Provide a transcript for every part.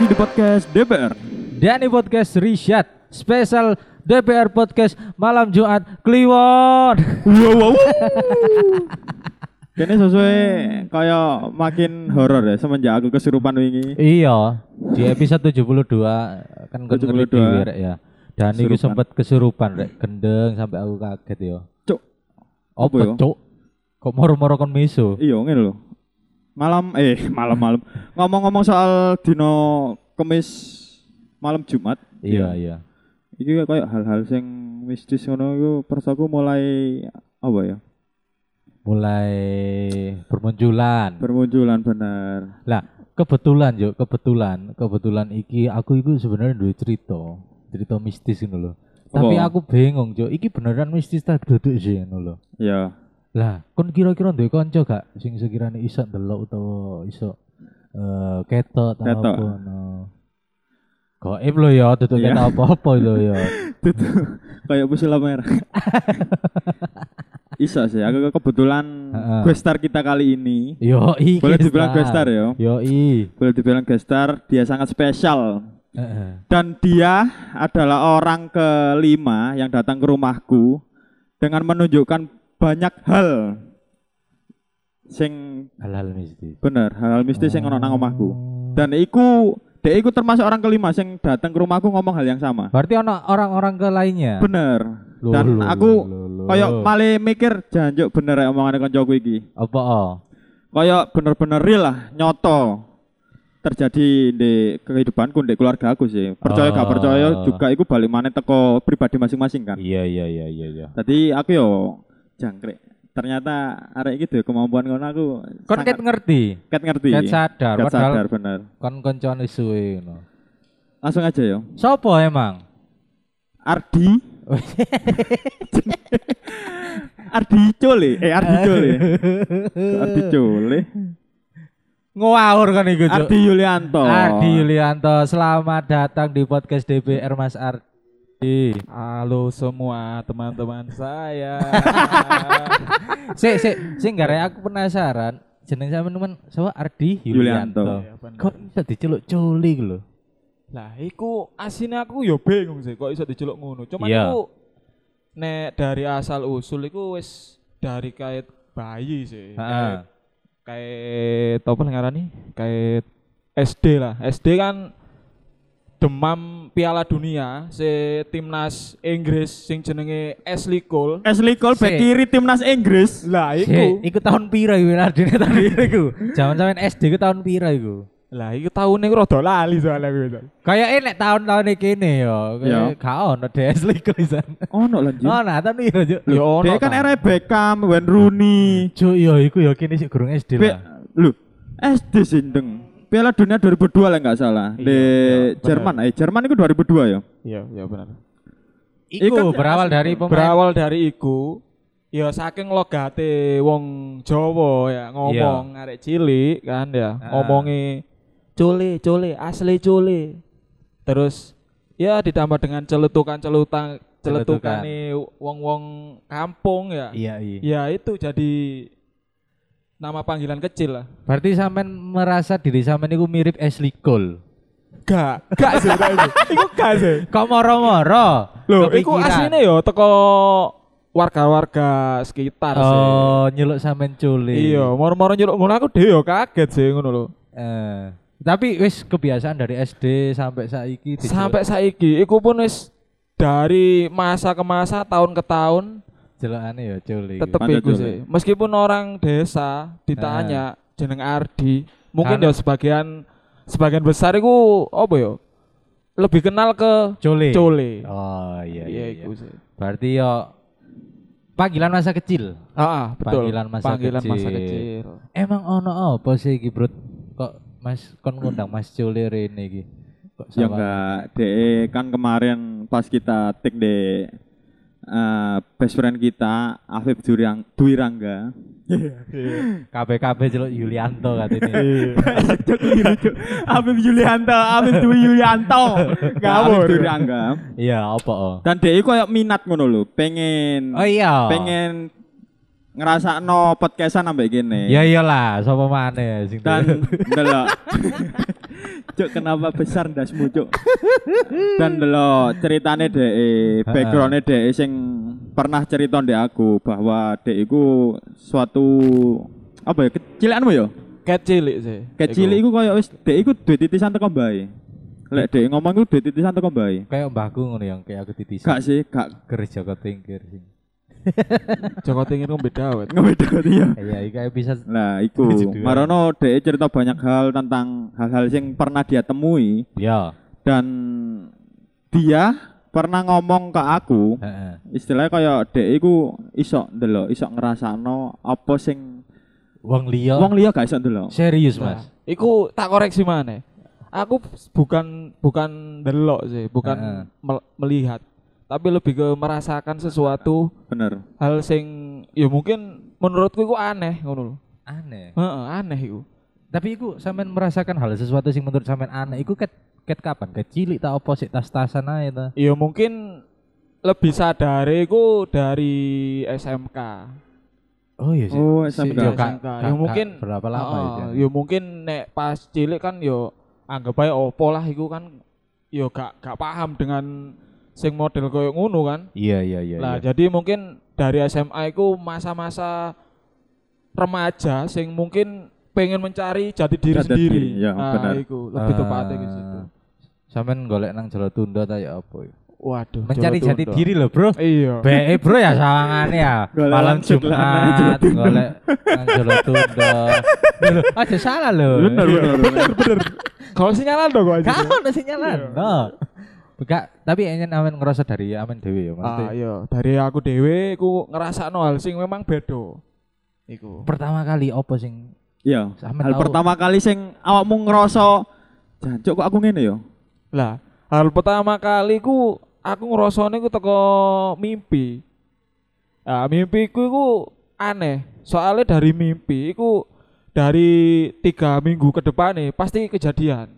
di podcast DPR. Dani Podcast Rishad spesial DPR Podcast malam Jumat Kliwon. Wow wow. Kene sesuai kayak makin horor ya semenjak aku kesurupan wingi. iya, di episode 72 kan kan ngeri 72. dhewe, Rek, ya. Dani ku Kesurupan. sempat kesurupan rek gendeng sampai aku kaget yo. Cuk. Apa Apa yo? cuk? Kok moro-moro kon miso? Iya ngene lho. Malam eh malam-malam. Ngomong-ngomong soal dino Kemis malam Jumat. Iya, iya. Iki kayak hal-hal sing mistis ngono iku persaku mulai apa ya? Mulai bermunculan. Bermunculan bener. Lah, kebetulan yo, kebetulan, kebetulan iki aku iku sebenarnya duwe cerita, cerita mistis ngono lho. Tapi Apa? aku bingung, Cuk. Iki beneran mistis tak duduk sih ngono lho. Ya. Lah, kon kira-kira duwe kanca gak sing sekirane iso ndelok utawa iso eh ketok ta Ketok. apa no. Gaib lho ya, duduk Iya. ketok apa-apa lho ya. kayak pusila merah. Isa sih, aku kebetulan Heeh. guest star kita kali ini. Yo i. Boleh dibilang guest star ya. Yo i. Boleh dibilang guest star, dia sangat spesial. Heeh. Dan dia adalah orang kelima yang datang ke rumahku dengan menunjukkan banyak hal sing Halal mistis. bener hal mistis yang ono Oh. nang omahku. Dan iku dia iku termasuk orang kelima yang datang ke rumahku ngomong hal yang sama. Berarti ana orang-orang ke lainnya. Bener. Lho, Dan lho, aku lho, lho. Kayak malah mikir janjuk bener ya omongannya koncoku iki. apa oh? kayak bener-bener real lah nyoto terjadi di kehidupanku di keluarga aku sih percaya gak Ah. percaya juga itu balik mana teko pribadi masing-masing kan Iya iya iya iya iya. tadi aku yo jangkrik ternyata arek gitu kemampuan ngono aku Kon ket sangat ngerti, ket ngerti ket Iya. sadar, Ket sadar padahal bener kon koncone suwe ngono. langsung aja yo Sopo emang? Ardi Ardi Cole eh Ardi ya? Cole Ardi Cole Ngawur kan iku, Cuk. Ardi Yulianto Ardi Yulianto, selamat datang di podcast DPR Mas Ardi. Halo semua teman-teman saya. Sik, sik, sik gak Rek, aku penasaran. Jeneng sampean teman sapa Ardi Yulianto. Yulianto. Ya, bener. Kok bisa diceluk culi iku lho? lah iku asine aku yo bingung sih kok iso diceluk ngono. Cuman Iya. iku nek dari asal usul iku wis dari kait bayi sih. Heeh. Kait kait apa lah ngarani? Kait SD lah. SD kan demam Piala Dunia si timnas Inggris sing jenenge Ashley Cole. Ashley Cole bek Sik. kiri timnas Inggris Lah Sik, iku iku tahun pira iku Ardi tahun pira iku? Jaman sampean SD ku tahun pira iku? lah iku taune iku rada lali soalnya aku itu. Kayaknya nek tahun-tahun iki kene ya, Iya. kayak gak ono DS Ligo isan. ono lanjut Oh, nah tahun pira, Cuk? Ya ono Dia kan ta. era Beckham, Wayne Rooney. Cuk, ya iku ya kene sik gurung Hmm. SD Be lah. lu SD sindeng. Piala Dunia 2002 lah nggak salah. Di Iya, Jerman, eh Jerman itu 2002 ya. Iya, iya benar. Iku berawal dari pemain berawal dari iku ya saking logate wong Jawa Iya. ya ngomong arek cilik kan ya Ah. ngomongi cule cule asli cule terus ya ditambah dengan celutukan celutan Celetukan. celutukan wong-wong kampung ya Iya, iya. ya itu jadi nama panggilan kecil lah Berarti sampean merasa diri sampean iku mirip Ashley Cole. gak gak sih gak sih. iku gak sih Kok moro-moro? Loh, iku Kepikiran. aslinya yo teko warga-warga sekitar sih Oh, nyeluk sampean culi. Iya, moro-moro nyeluk ngono aku dhewe yo kaget sih ngono lho. Eh, tapi wis kebiasaan dari SD sampai saiki diceluk. Sampai saiki iku pun wis dari masa ke masa, tahun ke tahun celukane ya culi. iku. tetep Ada iku dulu. sih. Meskipun orang desa ditanya jeneng Ardi, mungkin Nah. Karena- ya sebagian sebagian besar iku apa yo? Lebih kenal ke culi. Cole. Oh, iya iya. iya. iku sih. Berarti yo panggilan masa kecil. Ah, ah, betul. Panggilan masa Panggilan kecil. masa kecil. Emang ono apa sih iki, Brut? Kok Mas kon ngundang Mas Culi rene iki? Kok Ya sama- enggak, DE kan kemarin pas kita take di eh, best friend kita Afif Duriang Dwi Rangga. Iya. KBKB celuk Yulianto katene. Afif Yulianto, Afif Dwi Yulianto. Afif Dwi Rangga. Iya, apa? oh? Dan DE kayak minat ngono lho, pengen Oh iya. pengen ngerasa no podcastan sampai gini. Ya iyalah, sapa maneh sing dan ndelok Cuk kenapa besar ndasmu cuk? Dan lo ceritane dek backgroundnya dek sing pernah cerita ndek aku bahwa dek iku suatu apa ya kecilanmu ya? Kecil sih. Kecil iku koyo wis dek iku duwe titisan teko mbae. Lek dek ngomong iku duwe titisan teko mbae. Kayak mbahku ngono yang kayak aku titisan. Gak sih, gak Keris Joko Tingkir sih. Joko tingin ngombe dawet. ngebeda ya. Iya, iki kayak bisa Nah, iku Judulnya. Marono dek cerita banyak hal tentang hal-hal sing pernah dia temui ya. dan dia pernah ngomong ke aku Heeh. istilahnya kaya dek iku iso ndelok iso ngrasakno apa sing Wong liya. Oh. wong liya gak iso ndelok serius, Nah, Mas. iku tak koreksi maneh. Aku bukan bukan delok sih, bukan Heeh. mel- melihat, tapi lebih ke merasakan sesuatu bener hal sing ya mungkin menurutku iku aneh ngono lho. Aneh. Heeh, aneh iku. Tapi iku sampean merasakan hal sesuatu sing menurut sampean aneh iku ket ket kapan? Kecilik tak apa sik tas-tasan ae ta. Ya mungkin lebih sadare iku dari SMK. Oh iya sih. oh Si- Yo, SMK Kak. SMK. Kak- Ya Kak mungkin berapa lama Heeh, itu? Ya mungkin nek pas cilik kan yo anggap ae opo lah iku kan yo gak gak paham dengan sing model koyo ngono kan. Iya, iya, iya. Lah iya. jadi mungkin dari SMA itu masa-masa remaja sing mungkin pengen mencari jati diri Jati diri, sendiri. ya, nah, benar. iku lebih tepatnya Ah, ke situ. Sampean golek nang Jalan Tunda ta ya apa ya? Waduh. Mencari Jawa jati Tunda. diri loh, Bro. Iya. BE bro ya sawangane ya. Golek Malam lanjut lah, nang Jumat golek nang Jalan Tunda. Lho, aja salah lho. bener bener bener. Kalau sinyalan dong gua aja. Gak ono sing nyalan. No. Gak, tapi ingin amin ngerasa dari amin dewi ya Ah, maksudnya. iya, dari aku dhewe aku ngerasakno hal sing memang bedo. Iku. Pertama kali opo sing iya Sampe hal tahu. pertama kali sing awakmu ngerasa jancuk kok aku ngene ya?" yo Lah, hal pertama kali ku aku ngrasane ku teko mimpi. Nah, mimpiku iku aneh. Soalnya dari mimpi iku dari tiga minggu ke depan nih pasti kejadian.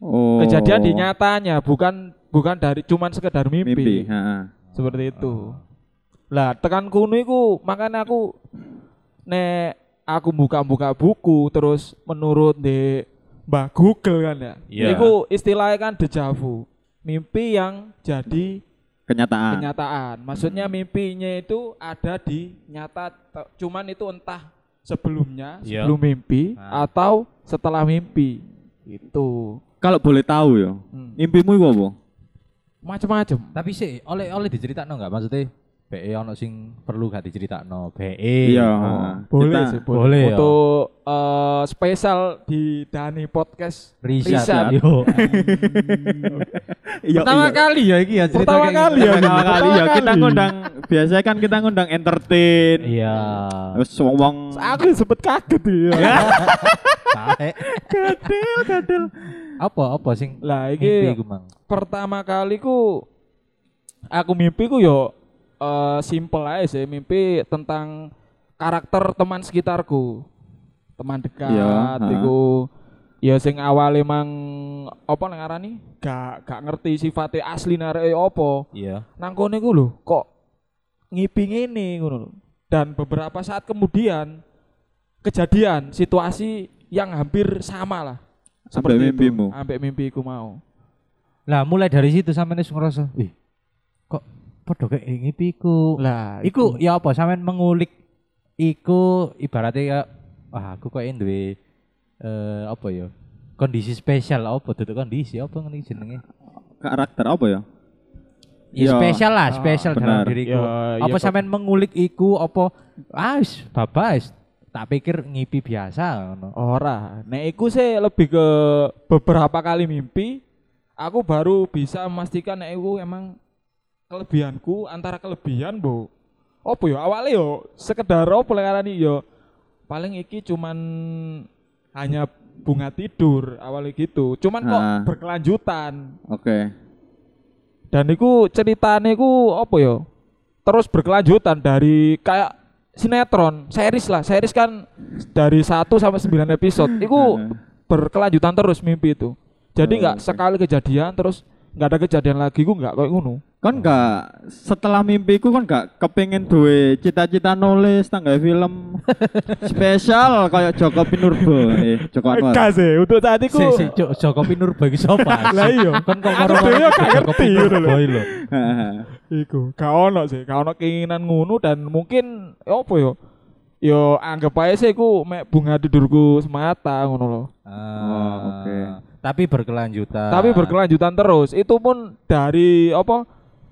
oh Kejadian di nyatanya bukan bukan dari cuman sekedar mimpi. mimpi heeh Seperti Oh. itu. Lah, tekan kuno iku makanya aku nek aku buka-buka buku terus menurut di Mbah Google kan ya. Iya. Iku istilahnya kan dejavu. Mimpi yang Nah. jadi kenyataan kenyataan. Maksudnya Hmm. mimpinya itu ada di nyata te- cuman itu entah sebelumnya, Iya. sebelum mimpi Ah. atau setelah mimpi. Itu. kalau boleh tahu yo Hmm. mimpimu iku apa Macam-macam. tapi sih oleh oleh diceritakno enggak maksudnya BE e ono sing perlu gak diceritakno BE iya oh. boleh Kita- sih boleh boleh, ya. untuk eh, spesial di Dani Podcast Riset, Riset. yo. iya Pertama iya. kali ya iki ya cerita Pertama kayak gitu. kali ya. pertama kali ya Pertama kita kali. ngundang biasanya kan kita ngundang entertain Iya. terus wong aku sempet kaget ya Taek. Apa apa sing lah mimpi ini iku mang? pertama kali ku aku mimpi ku yo eh, simple aja sih mimpi tentang karakter teman sekitarku teman dekat Iya, ha. iku ya sing awal emang apa ngarani gak gak ngerti sifatnya asli narek apa Iya. nang kono iku lho kok ngipi ngene ngono lho. Dan beberapa saat kemudian kejadian situasi yang hampir sama lah. sampai Seperti itu. mimpimu Ambek mimpiku mau. Lah mulai dari situ sampean wis ngerasa, "Wih, kok padha kayak ngipiku." Lah, Iku ya apa sampean mengulik iku ibaratnya ya wah aku kok duwe eh apa ya? Kondisi spesial apa duduk kondisi apa ngene jenenge? karakter apa ya Ya, Ya, spesial ah, lah, spesial dalam benar. diriku. Ya, ya, apa Pak. sampean mengulik iku apa ah wis babas tak pikir ngipi biasa ngono. ora. Nek iku sih lebih ke beberapa kali mimpi aku baru bisa memastikan nek iku emang kelebihanku antara kelebihan bu opo yo awalnya yo sekedar opo lah ngarani yo ya? paling iki cuman hanya bunga tidur awalnya gitu cuman kok Ah. berkelanjutan oke dan iku ceritane iku apa ya terus berkelanjutan dari kayak sinetron series lah series kan dari 1 sampai 9 Hmm. Hmm. episode iku berkelanjutan terus mimpi itu jadi nggak sekali kejadian terus nggak ada kejadian lagi ku nggak kayak ngono Kon gak setelah mimpiku kon gak kepingin duwe cita-cita nulis tangga film spesial kayak Joko Pinurbo eh Joko Anwar. Enggak sih, untuk saat itu Si si Cuk, Joko Pinurbo iki sapa? Lah iya. Kon Kan kok Aku karo dhewe gak ngerti ngono lho. lho. Iku, gak ono sih, gak ono keinginan ngono dan mungkin ya apa yo? Yo anggap aja sih ku mek bunga tidurku semata ngono loh. Oh, oke. Ah, Tapi berkelanjutan. Ah, Tapi berkelanjutan terus. Itu pun dari apa?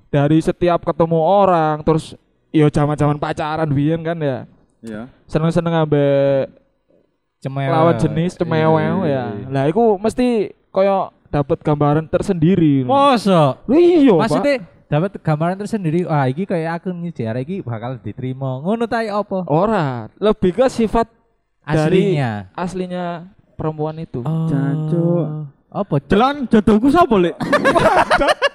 Dari setiap ketemu orang terus yo zaman-zaman pacaran biyen kan ya. Iya. Seneng-seneng ambek Cemewek. lawan jenis cemewew Iya, ya. iya. Lah iku mesti koyo dapat gambaran tersendiri. Mosok. Lho iya, Pak. Maksudnya dapat gambaran tersendiri. Wah, iki kayak aku nih daerah iki bakal diterima. Ngono ta ya apa? Ora, lebih ke sifat dari- Aslinya. aslinya perempuan itu. Oh. Jancuk. Apa? Jelan jodohku sapa, Lek?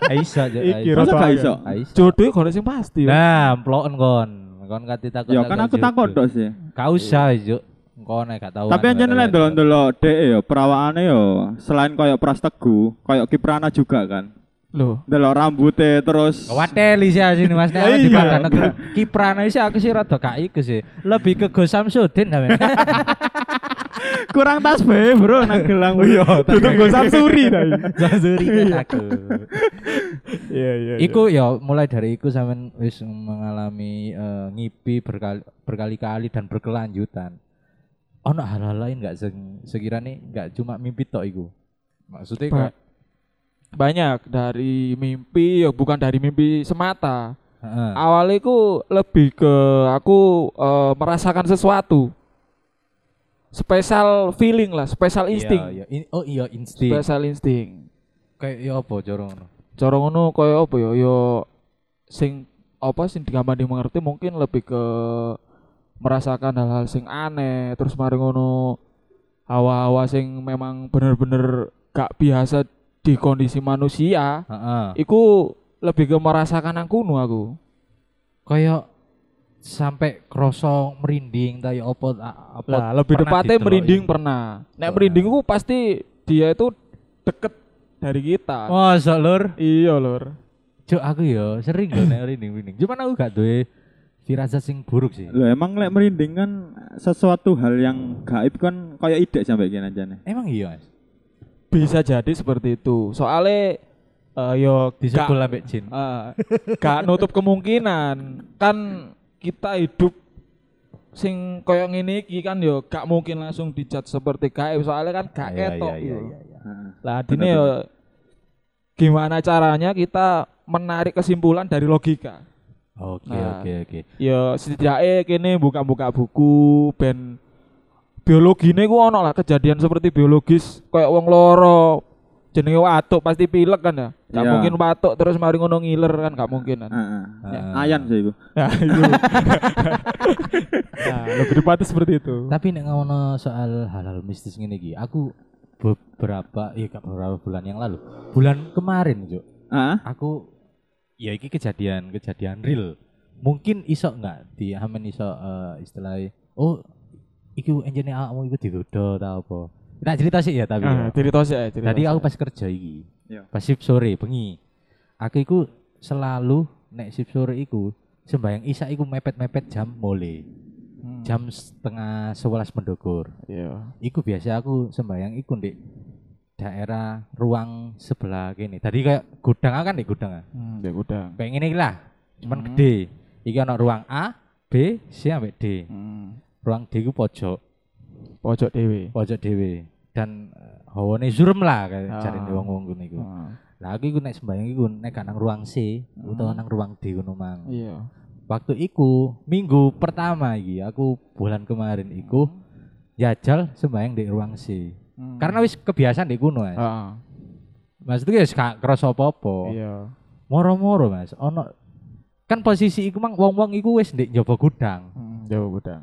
Aisyah aja. Iki Aisyah. Masa rata gak agak. iso? Aisyah. Jodoh kok sing pasti. ya. Nah, emploken kon. Kon kate takut. Ya kan aku takut tok sih. Gak usah, Juk. Engko nek gak tahu. Tapi aja nih delok-delok dhek ya perawaannya ya selain koyo Pras Teguh, koyo Kiprana juga kan. Loh, Delok rambutnya terus Wateli sih sini Mas Nek Iya. di Padang Negeri. Kiprana sih aku sih rada gak iku sih. Lebih ke Go Samsudin ta men. kurang tas be, Bro, nang gelang. Oh, Iya, duduk gue samsuri dah. Samsudin kan aku. Iya iya. Iku ya mulai dari iku sampean wis mengalami eh, ngipi berkali berkali-kali dan berkelanjutan. Ono hal-hal lain gak sing sekiranya gak cuma mimpi tok iku. Maksudnya Ba- kok banyak dari mimpi ya bukan dari mimpi semata. heeh. Awalnya ku lebih ke aku eh, merasakan sesuatu. Special feeling lah, special insting. Iya, iya. In- Oh iya insting. Special insting. Kayak ya apa jorong ngono. Cara ngono koyo apa ya ya sing apa sing digambar dimengerti mungkin lebih ke merasakan hal-hal sing aneh terus mari ngono hawa-hawa sing memang bener-bener gak biasa di kondisi manusia Heeh. iku lebih ke merasakan nang kuno aku Kayak sampai krosong merinding ta ya apa ta- apa lah lebih pernah tepatnya diteloki. merinding pernah nek Pernah. merinding ku pasti dia itu deket dari kita Masa lur? iya lur Cuk aku ya sering lho nek merinding-merinding. Cuman aku gak duwe firasat sing buruk sih. Loh emang lek merinding kan sesuatu hal yang gaib kan kayak ide sampai kene anjane. Emang iya, Mas. bisa jadi seperti itu soalnya eh, yo gak- Disebul ambek jin. Ah, gak nutup kemungkinan kan kita hidup sing koyo ngene iki kan yo gak mungkin langsung dijat seperti gaib soalnya kan gak ketok yo. Heeh. Lah adine yo gimana caranya kita menarik kesimpulan dari logika. Oke, Nah. oke, oke. Yo setidaknya kene buka-buka buku ben biologine ku ono lah kejadian seperti biologis kayak wong loro jenenge watuk pasti pilek kan ya. Gak Iya. mungkin watuk terus mari ngono ngiler kan gak mungkin kan. Heeh. Heeh. Ayan sih iku. Nah, itu. nah, lebih tepatnya seperti itu. Tapi nek ngono soal hal-hal mistis ngene iki, aku beberapa ya gak beberapa bulan yang lalu, bulan kemarin, Cuk. Heeh. aku ya iki kejadian kejadian real mungkin iso nggak di amen iso eh, istilahnya oh iki enjene awakmu iku didodo ta apa tak cerita sih ya tapi ya. cerita sih, eh, cerita tadi sih. aku pas kerja iki Iya. pas shift sore bengi aku iku selalu nek shift sore iku sembayang isa iku mepet-mepet jam mulai Hmm. jam setengah sebelas mendokur Iya. iku biasa aku sembayang iku di daerah ruang sebelah gini tadi kayak gudang aku kan di gudang ah. Hmm, ya udah. kayak ngene iki lah cuman Hmm. gede iki ana ruang A B C sampai D Hmm. ruang D ku pojok Pojok dewe. pojok dhewe dan eh, hawane zurem lah kayak Ah. jarine wong-wong ngono iku Ah, Hmm. lah aku iku nek sembayang iku nek gak nang ruang C utawa nang ruang D ngono mang Iya. waktu iku minggu pertama iki aku bulan kemarin iku jajal sembayang di ruang C Hmm. karena wis kebiasaan di kuno mas Ah, maksudnya wis gak kerasa apa-apa Iya. moro-moro mas ono kan posisi iku mang wong-wong iku wis ndek njaba gudang Hmm, jauh gudang.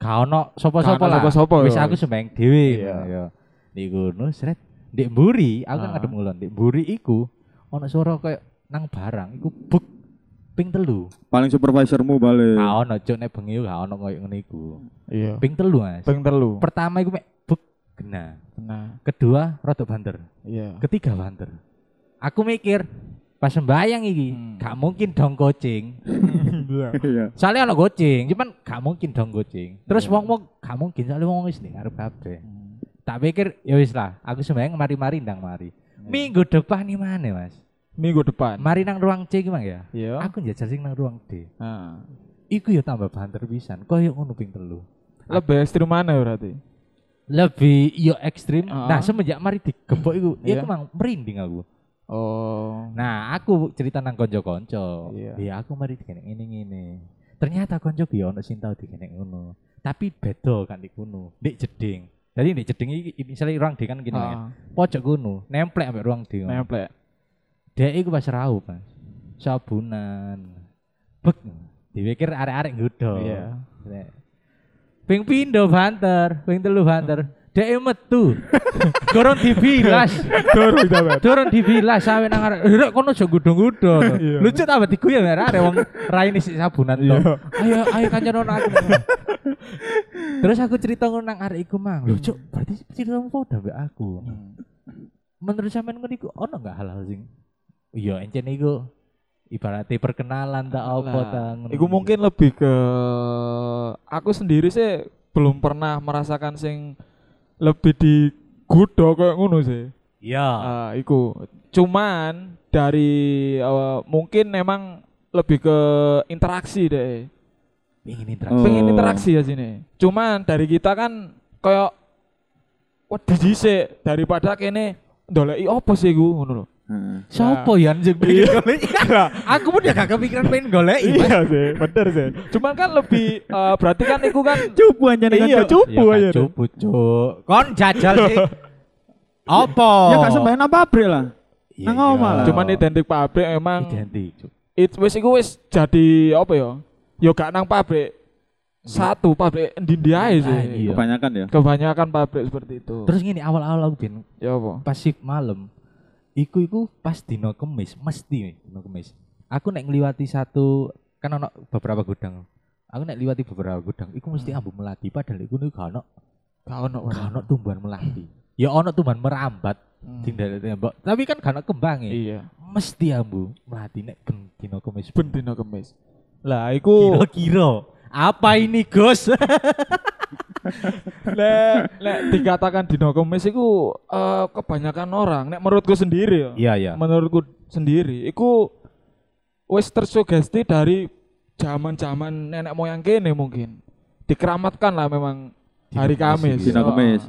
gak ono sapa-sapa Gak ono lah sapa-sapa wis ya, aku wis. sembayang dhewe Iya. ngono ya ndek ngono sret ndek mburi aku kan Ah. ngadem ngulon ndek mburi iku ono suara kayak nang barang iku buk ping telu Paling supervisormu balik. gak ono cuk nek bengi gak ono koyo ngene iku Iya. ping telu mas Peng telu. pertama iku mek buk gena Nah, kedua rada banter iya. ketiga banter aku mikir pas sembayang iki Hmm. gak mungkin dong coaching Iya. Iya. soalnya ono coaching cuman gak mungkin dong coaching terus wong wong gak mungkin soalnya wong wis nih ngarep kabeh Hmm. tak pikir ya wis lah aku sembayang mari-mari ndang mari minggu depan nih mana mas Minggu depan. mari nang ruang C gimana ya Iya. aku njajal sing nang ruang D Ah. iku ya tambah bahan terpisan koyo ngono ping telu Lebih ekstrim mana berarti? lebih yo ekstrim Ah. nah semenjak mari digembok iku ya Iya. aku mang merinding aku Oh. Nah, aku cerita nang konco-konco. Iya. Iya, aku mari dikene ini ngene. Ternyata konco ki ono sing tau dikene ngono. Tapi beda kan di kuno, ndek jeding. Jadi ndek jeding iki misalnya ruang D kan gini kan. Ah, Pojok kuno, nemplek ambek ruang D. Kan. Nemplek. Dek iku pas raup, Mas. Sabunan. Bek. Dipikir arek-arek nggodho. Iya. Nek. Ping pindho banter, ping telu banter. Dek metu. Gorong dibilas. Dorong kita, Bang. Turun di villa sampe nang arek. Rek kono aja gudung-gudung. Iya. Lucu ta bet iku ya arek arek wong raine sik sabunan to. Iya. Ayo ayo kancan ono aku. Terus aku cerita ngono nang arek iku mang. Hmm. Lho cuk, berarti ceritamu padha mbek aku. Menurut sampean ngono iku ono enggak hal-hal sing Iya, encen iku ibaratnya perkenalan tak apa Lah, ta. ngono. Iku mungkin lebih ke aku sendiri sih belum pernah merasakan sing lebih di gudo kayak ngono sih. iya. Ah, iku. Cuman dari eh, mungkin emang lebih ke interaksi deh. Pengin interaksi. Pengen Oh. interaksi ya sini. Cuman dari kita kan kayak wedi dhisik daripada kene ndoleki apa sih iku ngono lho. Heeh. Sopo ya anjing pengen golek? Aku pun ya gak kepikiran pengen golek. Iya sih, bener sih. Cuman kan lebih eh, berarti kan iku kan Cupu aja nih iya cupu Ya ya. kan cupu cuk. Kon jajal sih. Apa? Ya gak sembahin apa pabrik lah. Iya, nang omah iya. lah. Cuman identik pabrik emang identik cuk. it wis iku wis jadi apa ya? Yo gak nang pabrik satu pabrik endi-endi ae sih. Ah, iya. Kebanyakan ya. Kebanyakan pabrik seperti itu. Terus gini awal-awal aku bin ya apa? pas shift malam. Iku iku pas dino kemis, mesti dino kemis. Aku nek ngliwati satu kan ono beberapa gudang. Aku nek liwati beberapa gudang, iku mesti ambu melati padahal iku niku gak ono Hmm. Gak ono. gak ono tumbuhan melati. Ya ono tumbuhan merambat di dalam tembok, tapi kan gak ono kembangnya. Hmm. Iya. Mesti ambu melati nek gen dino kemis. Ben dina kemis. Lah iku Kira-kira apa ini, Gus? lek lek dikatakan dina kemis iku eh, kebanyakan orang nek menurutku sendiri ya. Iya, iya. menurutku sendiri iku wis tersugesti dari zaman-zaman nenek moyang kene mungkin dikeramatkan lah memang hari Dina Kamis Kamis iki. Dina Oh. Kamis.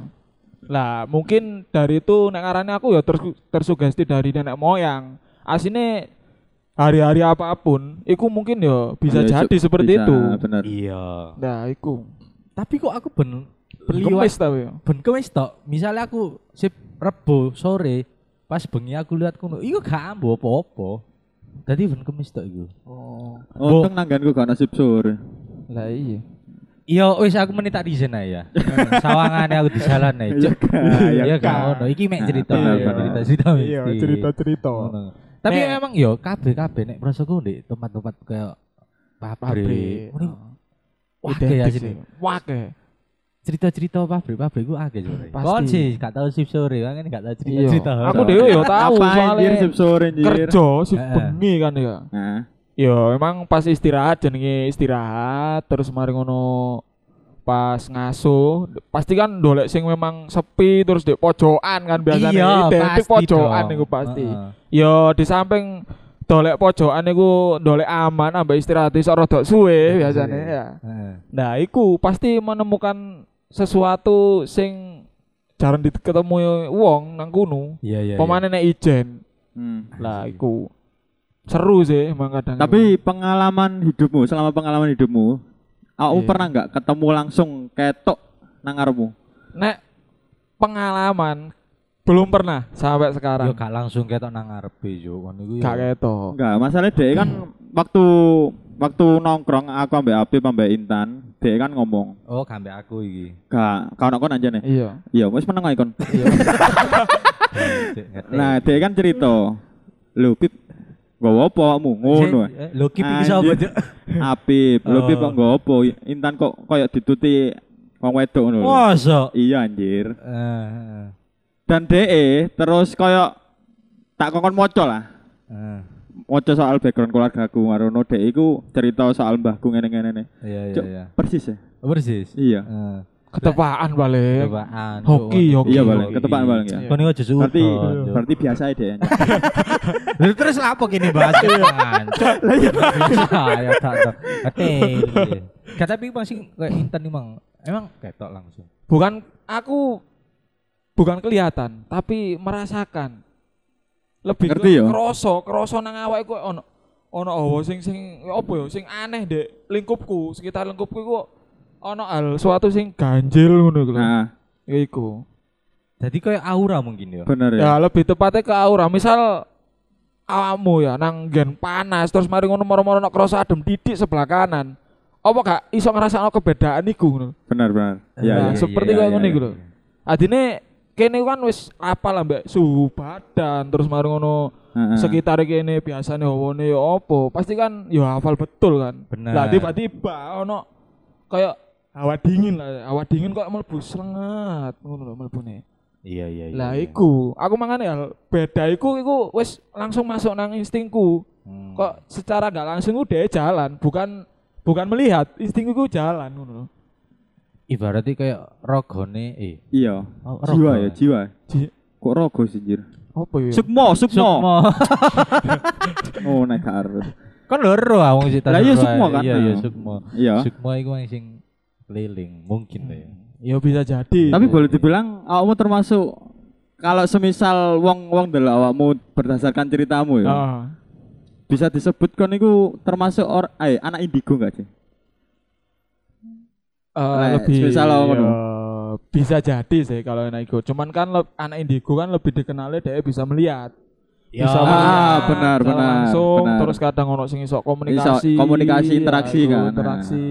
lah mungkin dari itu nek ngarane aku ya tersu- tersugesti dari nenek moyang asine hari-hari apapun iku mungkin ya bisa Iya, jadi cu- seperti bisa, itu Bener. Iya. nah iku Tapi kok aku ben kemis tapi ya. ben kemis tok. Misalnya aku sip Rebo sore pas bengi aku lihat kono, iku gak ambo apa-apa. Dadi ben kemis tok iku. oh Untung nangganku gak nasib sur. lah iya Iya, wis aku meni tak dizen ae ya. Sawangane aku di jalan ae. Iya, Cuk. Kak. Iya, Iya gak Kak. ono. Iki mek cerita, bener, iya, bener. cerita-cerita Iya. mesti. cerita-cerita Ngono. Tapi Nek- memang yo kabeh kabeh nek prosoku di tempat-tempat kayak pabrik. pabrik Ngono. Wah, Identik kayak sini. iya, sih. Wake. cerita-cerita pabrik pabrik gue agak sore. Pasti. Kon sih gak tahu sip sore, kan gak tahu Iya. cerita-cerita. Aku dhewe yo Apa tahu anjir soalnya sip sur anjir. kerja sih Heeh. bengi kan ya. Heeh. Ya emang pas istirahat jenenge istirahat terus mari ngono pas ngaso pasti kan dolek sing memang sepi terus di pojokan kan biasanya identik pojokan dong. niku pasti. Heeh. Yo di samping dolek pojokan niku dolek aman ambek istirahat iso rodok Iya, suwe biasanya ya. Eh. Heeh. Nah, iku pasti menemukan sesuatu sing jarang diketemu wong nang kuno. Iya iya. Pemane nek ijen. Hmm. Lah Asik. iku seru sih emang kadang. Tapi pengalaman hidupmu, selama pengalaman hidupmu, aku Iya. pernah nggak ketemu langsung ketok nang ngarepmu? nek pengalaman belum pernah sampai Yo sekarang. gak langsung ketok nang ngarepe yo kon iku. yo. Gak ketok. Enggak, masalah dek kan waktu waktu nongkrong aku ambek Apip ambek Intan, dek kan ngomong, Oh, kambe aku iki. "Gak, kau kon aja nih." Iya. Iya, wis meneng ae kon. Cek, ngetek. Nah, dek kan cerita, "Lho, Pip, nggawa apa kamu?" Ngono. Cek, eh, Lo kip iki sapa, Anjir. Cuk? Apip, lho Pip Oh. kok nggawa apa? Intan kok koyo dituti wong wedok ngono. lho. Mosok. Iya anjir. Eh, eh. dan DE terus koyo E, tak kongkon moco lah. Ah, Moco soal background keluargaku ngarono dek iku cerita soal mbahku ngene-ngene. iya iya Cuk, iya. persis ya? Persis. Iya. Eh, ketepaan balik Ketepaan. Hoki, Cuk, hoki. Iya, Oke. Bang. Ketepaan, Bang ya. Kau nih aja suhu. Berarti berarti biasa ya dek. terus apa gini bahas Iya. kan? Ya tak tak. Oke. Kata tapi bang sih kayak intan nih bang. Emang ketok langsung. bukan aku bukan kelihatan tapi merasakan lebih Ngerti ya? kroso kroso nang awak iku ono ono hawa sing sing apa ya sing aneh dek lingkupku sekitar lingkupku iku ono hal suatu sing ganjil ngono iku lho. Nah, ya iku Jadi kayak aura mungkin ya. bener ya. ya lebih tepatnya ke aura misal awakmu ya nang gen panas terus mari ngono moro-moro nak kroso adem didik sebelah kanan apa gak iso ngrasakno kebedaan iku ngono Bener, bener. Iya, iya. Ya. Nah, iya, seperti iya, kayak iya, ngono iku iya. lho. Adine kene kan wis apa lah Mbak suhu badan terus mari ngono Heeh. sekitar kene biasane hawane ya opo. Pasti kan ya hafal betul kan. Bener. Lah tiba-tiba ono kayak hawa dingin lah, hawa dingin kok mlebu slengat ngono lho mlebune. Iya iya. Lah iku, aku mangane ya beda iku iku wis langsung masuk nang instingku. Hmm. Kok secara gak langsung udah jalan, bukan bukan melihat, instingku jalan ngono lho. ibaratnya kayak rogone eh Iya. Oh, Jiwa rogo. ya, jiwa. Ji- Kok rogo sih, Jir? Apa ya? Sukmo, sukmo. sukmo Oh, naik ke arep. kan loro ah wong cita Lah iya, loro ae. sukmo kan, iya nah. iya sukmo Iya. Hmm. sukmo iku wong sing keliling mungkin lah ya Ya bisa jadi. Tapi boleh dibilang awakmu termasuk kalau semisal wong wong delok awakmu berdasarkan ceritamu ya. Ah. Bisa disebutkan itu termasuk or, eh, anak indigo enggak sih? Eh, Lek, lebih semisal apa ngono? ya, bisa jadi sih kalau anak indigo. Cuman kan leb- anak indigo kan lebih dikenalnya dia bisa melihat. Ya, Bisa Ah, melihat benar, secara benar, langsung benar. terus kadang ono sing iso komunikasi. Iso komunikasi, interaksi ya, iku, kan. Interaksi.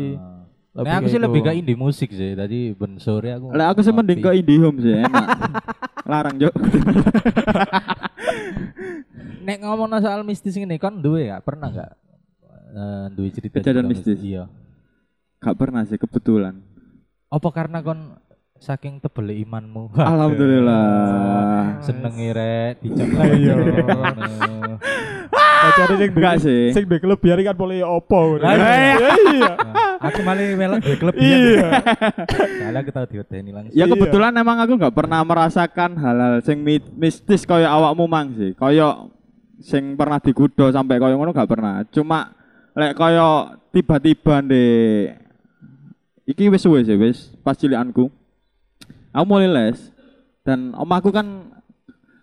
Nah, aku sih kayak lebih gitu. ke indie musik sih. Tadi ben sore aku. Lah aku sih ngopi. mending ke indie home sih enak. Larang, Cuk. Nek ngomong soal mistis ini kan duwe ya, pernah enggak? Eh duwe cerita Kejadian cerita mistis. Iya. Gak pernah sih kebetulan. Apa karena kon saking tebel imanmu? Alhamdulillah. Senengi rek dicoba. Iya. Ah. Nah, cari sing duwe- Enggak sih. Sing duwe kelebihan kan boleh opo. ngono. Lah, iya. Ya, Iya. Aku malah melok duwe kelebihan. Iya. Salah kita diwedeni langsung. Ya kebetulan emang aku nggak pernah merasakan hal-hal sing mi- mistis koyo awakmu mang sih. Koyo sing pernah digudo sampai koyo ngono nggak pernah. Cuma lek koyo tiba-tiba di iki wis suwe sih wis pas cilikanku. Aku mulai les dan omahku kan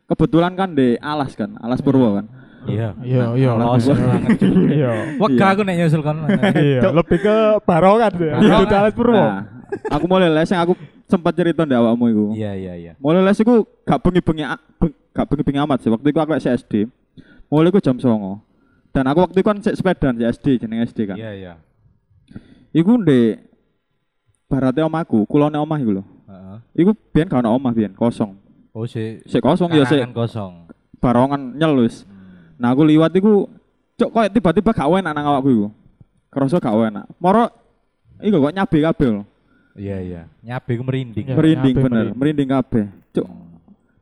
kebetulan kan di alas kan, alas Purwo kan. Iya. Iya, iya. Los banget. Iya. Wegah aku nek nyusul kon. Iya, lebih ke barongan ya. Barongan. Itu Dallas Purwo. Nah, aku mulai les yang aku sempat cerita ndek awakmu iku. Iya iya iya. Mulai les iku gak bengi-bengi a- beng- gak bengi-bengi amat sih. Waktu itu aku lek SD. Mulai iku jam 09.00. Dan aku waktu itu kan sik sepedaan sik SD jeneng SD kan. Iya iya. Iku ndek barate omahku, kulone omah iku lho. Heeh. Iku biyen gak ono omah biyen, kosong. Oh sih. Sik kosong ya sik karangan kosong. Hmm. barongan nyel wis. Nah aku liwat iku cok koyo tiba-tiba gak enak nang awakku iku. Kerasa gak enak. Moro iku kok nyabe kabeh lho. Iya iya. Nyabe ku merinding. Iya. merinding kabeh bener, merinding kabeh. Cuk.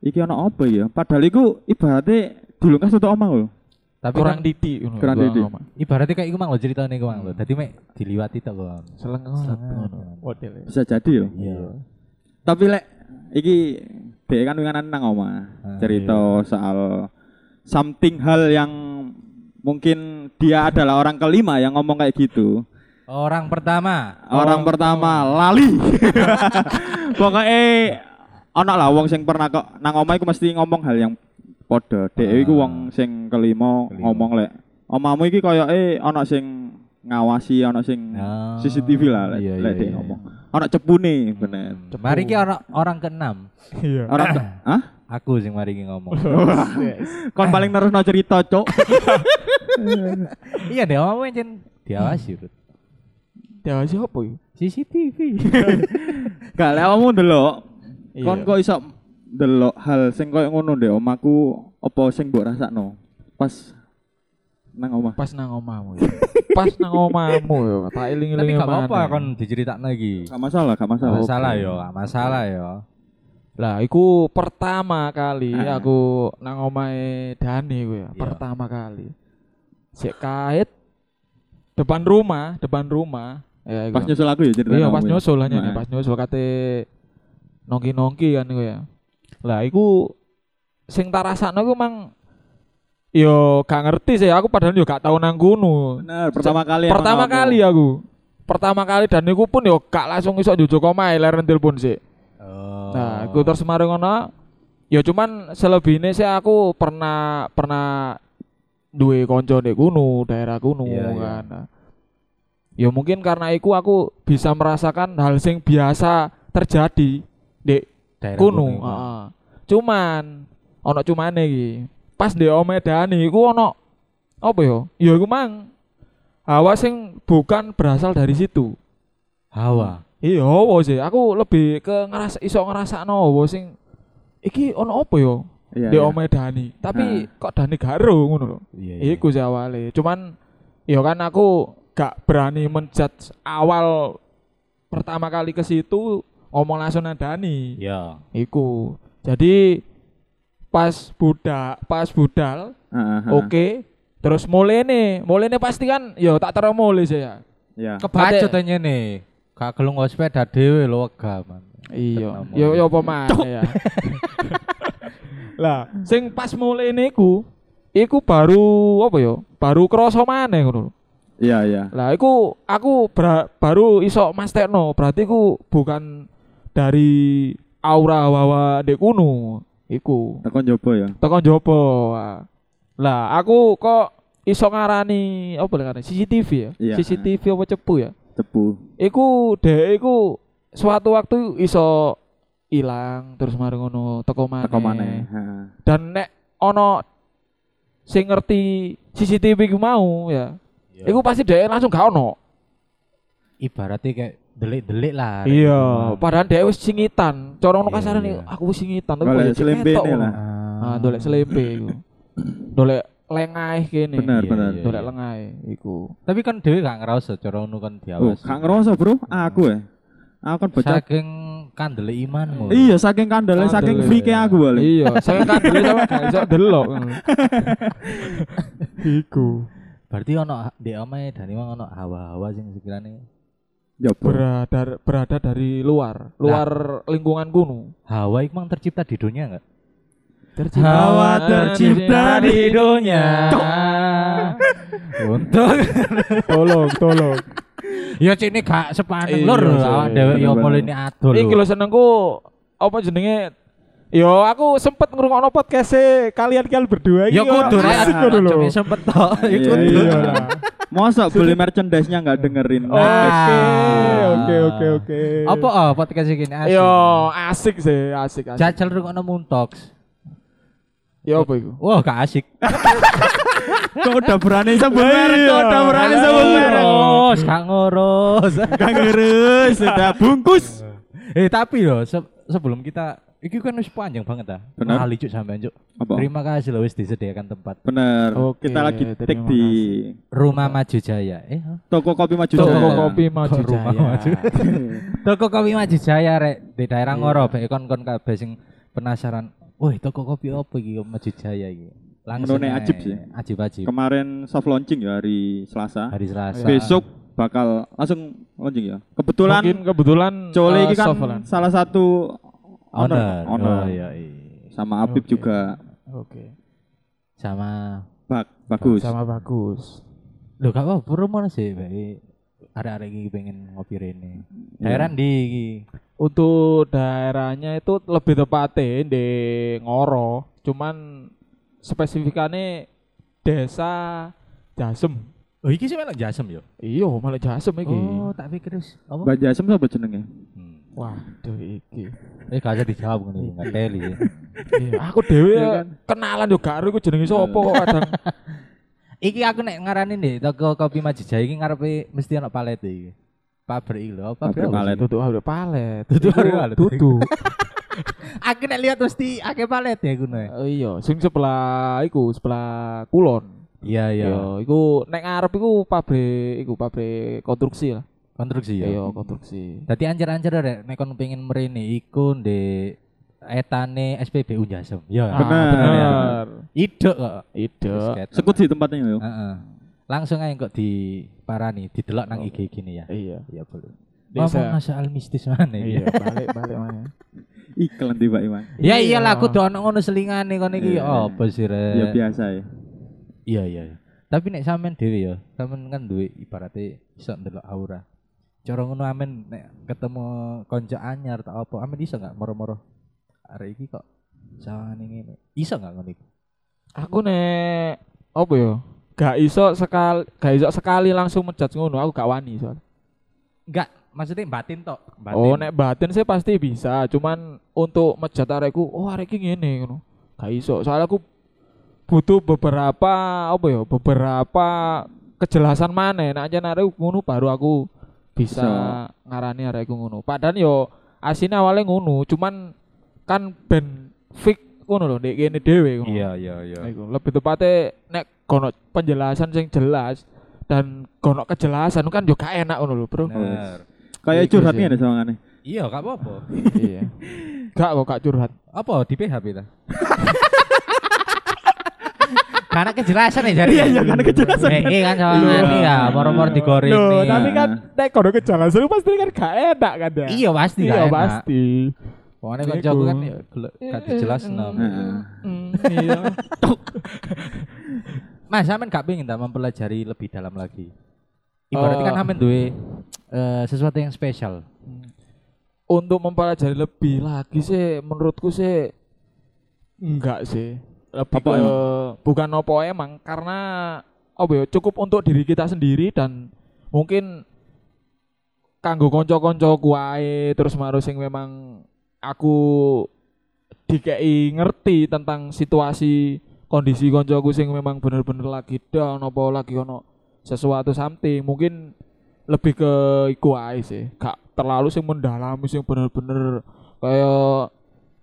Iki ono apa ya? Padahal iku ibaratnya dilungkas untuk omah lho. Tapi kan Kurang titik ngono. Kurang Gua titik. ngomong. ibaratnya kayak iku mang lo ceritanya iku mang lo. Dadi mek diliwati tok kon. Selengah. Model. Bisa jadi ya. Iya. Tapi lek iki dhek kan winganan nang omah. Ah, Cerita soal something hal yang mungkin dia adalah orang kelima yang ngomong kayak gitu. Orang pertama. Orang pertama lali. Pokoknya ana lah wong sing pernah kok nang omah iku mesti ngomong hal yang padha. Dhek iku Ah. wong sing kelima, Kelima. ngomong lek omamu iki koyoke ana sing ngawasi, ana sing Ah. CCTV lah lek Iya, lek iya, Hmm. dhek iya. ngomong. Ana cepune bener. Mari ki orang orang keenam. Iya. Orang ke- Hah? Aku sing mari ki ngomong. Kon paling terus no cerita, Cuk. iya deh, omong jen diawasi. Rut. Dewa siapa ya? CCTV. Gak lek awakmu ndelok. Iya. Kon kok iso ndelok hal sing koyo ngono ndek omaku apa sing mbok rasakno pas nang omah. Pas nang omamu ya. Pas nang omamu ya. Tak Tapi iling-iling gak apa-apa kon diceritakno iki. Gak masalah, gak masalah. Gak masalah yo, gak masalah yo. Lah iku pertama kali Ah. aku nang omahe Dani kuwi ya, Iya. pertama kali. Sik kait depan rumah, depan rumah. Ya iku. Pas nyusul aku ya cerita. Iya pas nyusul hanya nih, Nah. pas nyusul kate nongki-nongki kan iku ya. Lah iku sing tak rasakno iku mang yo gak ngerti sih aku padahal yo gak tau nang kuno. Benar, pertama kali. emang Pertama aku. kali ya? aku. Pertama kali dan iku pun yo gak langsung iso njujuk omahe leren telepon sih. Oh. Nah, aku terus mari ngono. Ya cuman selebihnya sih aku pernah pernah duwe konco nek kuno, daerah kuno Iya, iya. kan. Nah, Ya mungkin karena iku aku bisa merasakan hal sing biasa terjadi di Daerah iya. kuno. iku. heeh. Cuman ono cumane iki. Pas di Omedani iku ono apa ya? Ya iku mang hawa sing bukan berasal dari situ. Hawa. Iya, apa sih. Aku lebih ke ngerasa iso ngrasakno apa sing iki ono apa yo Iya, di iya. omeh Dani. Tapi kok Dani garo ngono lho. Iya. Iku sih awale. Cuman ya kan aku gak berani menjudge awal pertama kali ke situ ngomong langsung nang Dani. Iya. Iku. Jadi pas budak, pas budal, Ah, ah, ah. oke. Terus mulai nih, mulai nih pasti kan, yo tak terus mulai sih ya. Iya. Kepacut Ate- aja nih. Kak gelung sepeda dhewe lho wega man. Iya, Kenapa? yo yo apa maneh ya. Hmm. Lah, sing pas mulai niku, iku baru apa yo? Baru krasa maneh ngono. lho. Iya, iya. Lah, iku aku bra- baru iso masterno, berarti ku bukan dari aura wawa dek kuno iku. Tekon coba ya. Teko jopo. ah. Lah, aku kok iso ngarani apa lah ngarani CCTV ya? Iya. CCTV apa cepu ya? Cepu. iku dhek iku suatu waktu iso ilang terus mari ngono teko maneh. Teko maneh. Ha. Dan nek ono sing ngerti CCTV ku mau ya. Iya. Iku pasti dhek langsung gak ono. ibaratnya kayak delik-delik lah. Iya. Padahal dhek wis singitan. Cara ngono Iya, kasarane iya. aku wis singitan tapi Golek kok ya cek selempene ketok ngono. lah. Ah, dolek selempe iku. dolek lengaih kene. Benar, Iya, benar. iya. Dolek lengaih iku. Tapi kan dhewe gak ngerasa cara ngono kan Oh, diawasi. gak ngerasa, Bro. Aku ya. Aku kan bocah. Saking kandele imanmu. Iya, saking kandele, Kandele. saking frike aku balik. Iya, saya kandel sama gak iso delok. iku. Berarti ono di omae Dani mang ono hawa-hawa sing sekirane Coba. berada berada dari luar Nah. luar lingkungan kuno hawa iku mang tercipta di dunia enggak? Hawa tercipta di dunia. Untuk tolong tolong ya cini gak sepaneng Iya, lur sih. awak dhewe ya Bener-bener. mulane adol. iki lo senengku apa jenenge Yo aku sempet ngrungokno podcast e, kalian kalian berdua iki. Ya kudu asik rek kudu lho. Cuma sempet tok ya Iya, kudu. iya. Mosok beli merchandise-nya gak dengerin. Oh, Oke, Ah. Eh, oke, oke, oke. Iya. Apa oh podcast iki ini asik. Yo asik sih, asik asik. Jajal rungokno Muntox. Yo apa iku? Wah, gak asik. Kok udah berani sebut merek, kok Iya. udah berani sebut merek. ngurus, gak ngurus. Gak ngerus, sudah bungkus. eh, tapi loh, se- sebelum kita iki kan wis panjang banget ah. Benar. Kali cuk sampean cuk. Apa? Terima kasih loh wis disediakan tempat. Bener. Oke, Kita lagi tik terima di Rumah Maju Jaya. Eh, huh? toko kopi maju Toko Jaya. kopi maju Kok rumah Jaya. maju? Toko kopi Maju Jaya rek di daerah Ngoro bae kon-kon kabeh sing penasaran. Woi, toko kopi opo iki Maju Jaya iki? Langsung Menurutnya ae. ajib sih. Ajib ajib. Kemarin soft launching ya hari Selasa. Hari Selasa. Besok bakal langsung launching ya. Kebetulan Mungkin kebetulan Cole eh, ini kan soft lan. salah satu owner. owner. Oh, iya, iya. sama Apip Oke. juga Oke. Sama Bak, bagus. Sama bagus. Lho gak apa-apa rumah sih bae. Arek-arek iki pengen ngopi rene. Daerah ndi iki? Untuk daerahnya itu lebih tepatnya di Ngoro, cuman spesifikannya desa Jasem. Oh iki sih melok Jasem yo. Iya, malah Jasem iki. Oh, tak pikir wis apa? Mbak Jasem sapa jenenge? Hmm. Waduh iki. Eh gak usah dijawab ngene iki, gak teli. sih. Iya, aku dhewe Iya kan? kenalan yo gak ero iku jenenge sapa kok kadang. Iki aku nek ngarani nih toko kopi Majijaya iki ngarepe mesti ana palet iki. Pabrik iki lho, Pabrik pabrik. apa palet. sih? Duduk habre palet. Duduk habre Iku palet. Duduk. Aku nek lihat mesti akeh palet ya gue. Eh, Iya, sing sebelah iku sebelah kulon. Iya iya. Iya, iku nek ngarep iku pabrik iku pabrik konstruksi lah. Konstruksi ya. Iya, konstruksi. Dadi ancer-ancer rek nek kon pengen mrene iku ndek etane SPBU Jasem. Ya. Ah, Bener. Bener. Iduk kok. Ide. Basket. Sekut sih tempatnya yo. Heeh. Langsung aja kok di parani, didelok nang IG gini ya. Iya. Iya belum. Desa. Ngomong masalah mistis mana Iya, ya? balik balik mana. Iklan tiba Iwan. Ya iyalah aku dono ngono selingane kono Iya. iki apa Ya sih Eh. Rek? biasa ya. Iya iya. iya. Tapi nek sampean dhewe ya, sampean kan duwe ibaratnya iso ndelok aura. Cara ngono amen nek ketemu konco anyar tak apa, amen iso enggak moro-moro. Arek iki kok sawane ngene. Iso enggak ngono iku? Aku nek apa ya? Gak iso sekali, gak iso sekali langsung menjudge ngono, aku gak wani soal. Enggak, maksudnya batin tok, batin. Oh, nek batin sih pasti bisa, cuman untuk mejat arekku, oh arek iki ngene ngono. Gak iso, soalnya aku butuh beberapa apa ya, beberapa kejelasan mana nek aja arek ngono baru aku bisa ngarani arekku ngono. Padahal yo asine awalnya ngono, cuman kan ben fix ngono lho nek kene dhewe ngono. Iya iya iya. Iku, lebih tepatnya nek kono penjelasan sing jelas dan kono kejelasan kan juga enak ngono lho, Nah, Bro. Bener. Kayak Iya, curhatnya iya. ada sawangane. Iya, gak apa-apa. iya. Gak kok gak curhat. Apa di PHP ta? karena kejelasan ya jadi. Iya, iya karena kejelasan. Iki kan soalnya Loh. ya moro-moro digoreng. Loh, nih. ya. tapi kan nek kono kejelasan pasti kan gak enak kan ya. Iya pasti Iya, gak enak. pasti. Pokoknya Iku. kan jago kan ya gele- gak nah. jelas Heeh. Mm, iya. Mas sampean gak pengen tak mempelajari lebih dalam lagi. Ibaratnya kan Eh. sampean duwe eh, sesuatu yang spesial. Hmm. Untuk mempelajari lebih lagi sih menurutku sih enggak sih. Lebih Apa ke- emang? bukan opo emang karena apa ya cukup untuk diri kita sendiri dan mungkin kanggo konco-konco kuae terus marus sing memang aku dikei ngerti tentang situasi kondisi koncoku sing memang bener-bener lagi down apa lagi ono sesuatu something mungkin lebih ke iku ae sih gak terlalu sing mendalami sing bener-bener kayak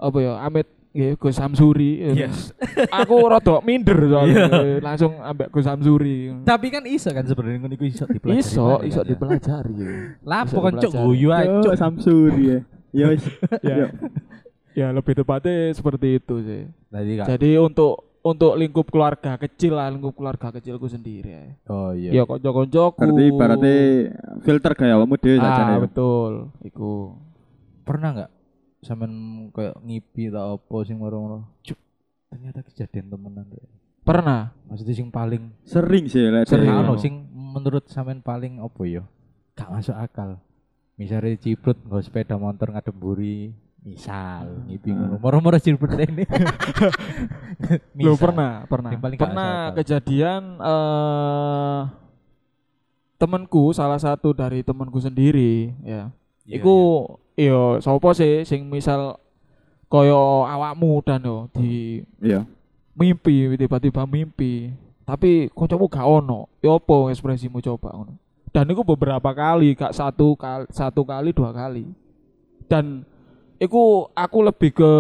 apa ya amit ya Gus Samsuri Yes. Iya. aku rada minder soalnya langsung ambek Gus Samsuri Tapi kan iso kan sebenarnya ngono iku iso dipelajari. iso mana iso kan ya. dipelajari Lapo iso kan cuk dipelajari. guyu ae Cuk cuk. Samsur ya. Ya wis. Iya. Yuk. ya lebih tepatnya seperti itu sih Tadi kan. jadi untuk untuk lingkup keluarga kecil lah lingkup keluarga kecilku sendiri ya Oh iya. ya konco-koncoku Berarti berarti filter gaya awakmu dhewe sajane. ah ya. betul iku pernah nggak sampean kayak ngipi atau apa sing moro-moro cuk ternyata kejadian temenan deh pernah maksudnya sing paling Sering sih lek. Sering. dhewe. Nggak ono, sing menurut sampean paling apa ya gak masuk akal misalnya ciprut nggak sepeda motor ngademburi misal ngipi ngono moro-moro ciprut ini Loh, pernah pernah Yang paling gak pernah asal tau. kejadian eh temanku salah satu dari temanku sendiri ya Iya, iku yo sopo sih sing misal koyo awakmu dan yo di Iya. mimpi tiba-tiba mimpi tapi kancamu gak ono ya apa ekspresimu coba ngono dan itu beberapa kali gak satu kali satu kali dua kali dan iku aku lebih ke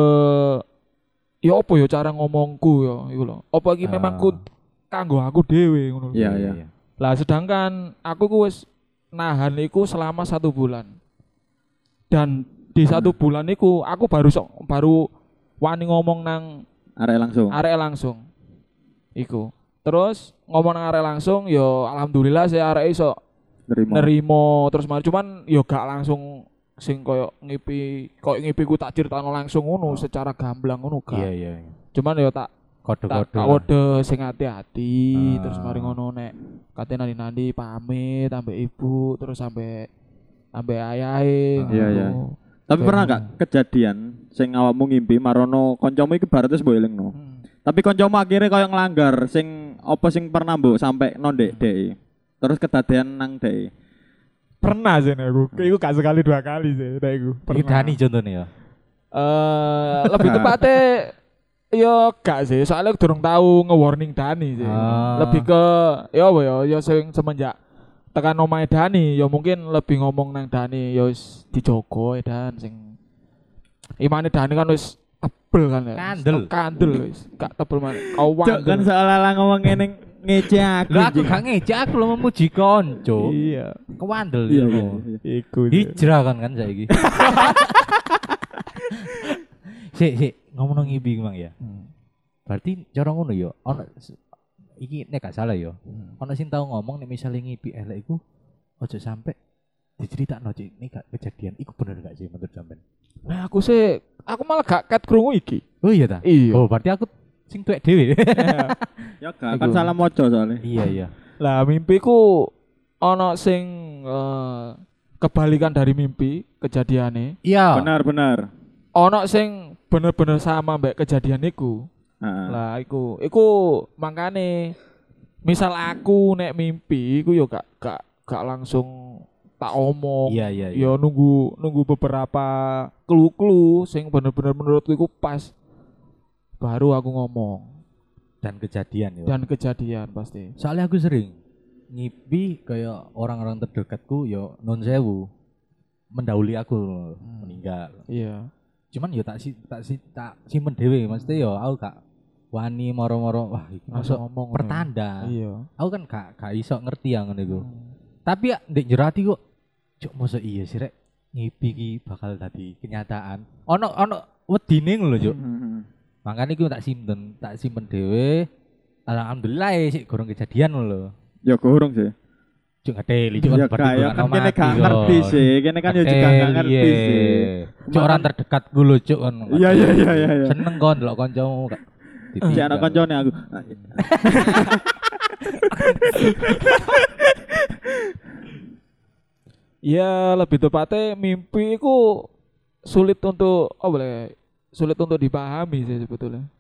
ya apa ya cara ngomongku ya iku lho apa iki memang Ah. ku kanggo aku dhewe ngono lho. Iya, iya. Lah sedangkan aku ku wis nahan iku selama satu bulan. Dan di satu bulan iku aku baru sok baru wani ngomong nang Arek langsung. arek langsung. Iku. Terus ngomong nang arek langsung yo alhamdulillah saya arek iso Nerima. nerimo terus mari cuman yo gak langsung sing koyo ngipi koyo ngipi ku tak critano langsung ngono secara gamblang ngono gak. Oh. iya iya Cuman yo tak tak kode-kode tak lah. kode sing hati-hati Ah. terus mari ngono nek kate nandi-nandi pamit sampe ibu terus sampe sampe Ah. ayahe ngono. Iya, iya. Tapi pernah gak kejadian sing awakmu ngimpi marono kancamu iki bar terus mbok elingno. Hmm. Tapi kancamu akhirnya kaya nglanggar sing apa sing pernah mbok sampe nondek dhek. e? Terus kedadean nang e? dhek. pernah sih nek aku iku gak sekali dua kali sih nek iku Iki Dani contohnya ya Eh, lebih tepatnya yo gak sih soalnya aku durung tahu nge-warning Dani sih Ah. lebih ke yo apa yo yo sing semenjak tekan omahe Dani yo mungkin lebih ngomong nang Dani yo wis dijogo ya Dan sing imane Dani kan wis tebel kan ya Kandel. kandel wis gak tebel man kau Cuk kan seolah-olah ngomong ngene ngece aku. Lah aku gak ngejak aku lo memuji konco iya kewandel Iya, gitu. iya, iya. iku sih. hijrah kan kan saiki Sik, sik, ngomong ngipi Mang ya. Berarti cara ngono ya, ono iki nek gak salah ya. Ono sing tau ngomong nek misalnya ngipi elek iku ojo sampe diceritakno cik, ini gak kejadian iku bener gak sih menurut sampean? Nah, aku sih aku malah gak ket krungu iki. Oh iya ta? Iya. Oh, berarti aku sing tuwek dhewe. Ya gak kan Iku. salah mojo soalnya. iya, iya. Lah mimpiku ana sing eh, kebalikan dari mimpi kejadiane. Iya. Benar benar. Ana sing bener-bener sama mbek kejadian iku. Heeh. Lah iku, iku makane misal aku nek mimpi iku yo gak gak gak langsung tak omong. Iya, iya, iya. Yo nunggu nunggu beberapa clue-clue sing bener-bener menurutku iku pas baru aku ngomong Dan kejadian ya. dan kejadian pasti. Soalnya aku sering ngipi kayak orang-orang terdekatku ya non sewu mendahului aku meninggal. Iya. Cuman ya tak si tak si tak simpen dhewe mesti ya aku gak wani moro-moro wah iki Langsung masuk ngomong. pertanda. Iya. Hmm. Aku kan gak gak iso ngerti ya ngene iku. Tapi ya ndek jero ati kok cuk mosok iya sih rek ngipi ki bakal dadi kenyataan. Ono ono wedine ngono lho Hmm. cuk. Makane iku tak simpen, tak simpen dhewe. Alhamdulillah ya sik gorong kejadian ngono lho. Ya kurung sih. Cuk ngeteli, cuk Ya gak ya kan kene gak ngerti sih. Kene kan yo Eh, juga gak iya. ngerti sih. Cuk orang terdekat dulu cuk kan. Iya iya iya iya iya. Seneng kon delok kancamu gak. Si anak koncone aku. Ah, Ya lebih tepatnya mimpi itu sulit untuk oh boleh sulit untuk dipahami sih sebetulnya.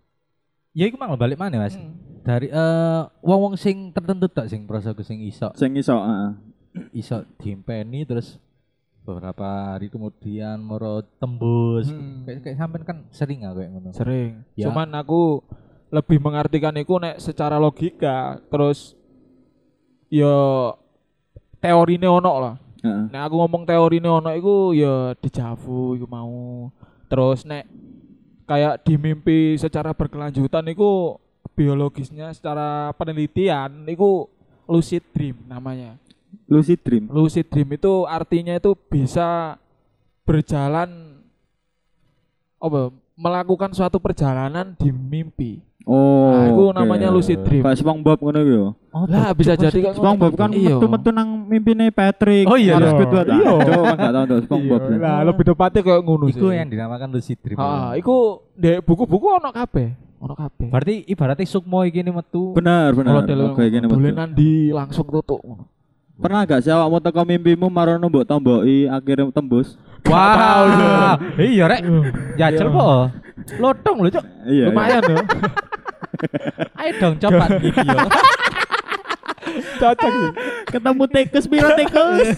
Ya iku mang balik mana Mas? Hmm. Dari eh wong-wong sing tertentu tak sing prosoku sing iso Sing iso ah, heeh. iso diimpeni terus beberapa hari kemudian moro tembus. Hmm. Kayak kayak sampean kan sering gak kayak ngono. Sering. Ya. Cuman aku lebih mengartikan itu nek secara logika terus yo teorine ono lah. Heeh. Nek aku ngomong teorine ono iku ya dijavu iku mau. Terus nek kayak di mimpi secara berkelanjutan iku biologisnya secara penelitian iku lucid dream namanya. Lucid dream. Lucid dream itu artinya itu bisa berjalan apa melakukan suatu perjalanan di mimpi. Oh. Nah, itu oke. namanya lucid dream. Kayak SpongeBob ngono iku yo. Oh, Lah bisa cuk, jadi Mas, kayak SpongeBob kan Iya. metu-metu nang mimpine Patrick. Oh, iya, Harus iya. kudu ta. Iya. Cuk kan gak tau tuh SpongeBob. Iya, Lah lebih tepatnya kayak ngono sih. Iku yang dinamakan lucid dream. Ah, iku ndek buku-buku ono kabeh, ono kabeh. Berarti ibaratnya sukmo iki ini metu. Bener bener. Kalau nah, Oke gini betul. boleh nanti langsung tutup. ngono. Pernah gak sih awakmu teko mimpimu marono mbok tomboki akhirnya tembus? Wah, iya rek. Jajal po. Lotong lho, Cuk. Iya. iya. Lumayan loh. Ayo dong coba gitu. Cocok. sih. Ketemu tikus piro tikus?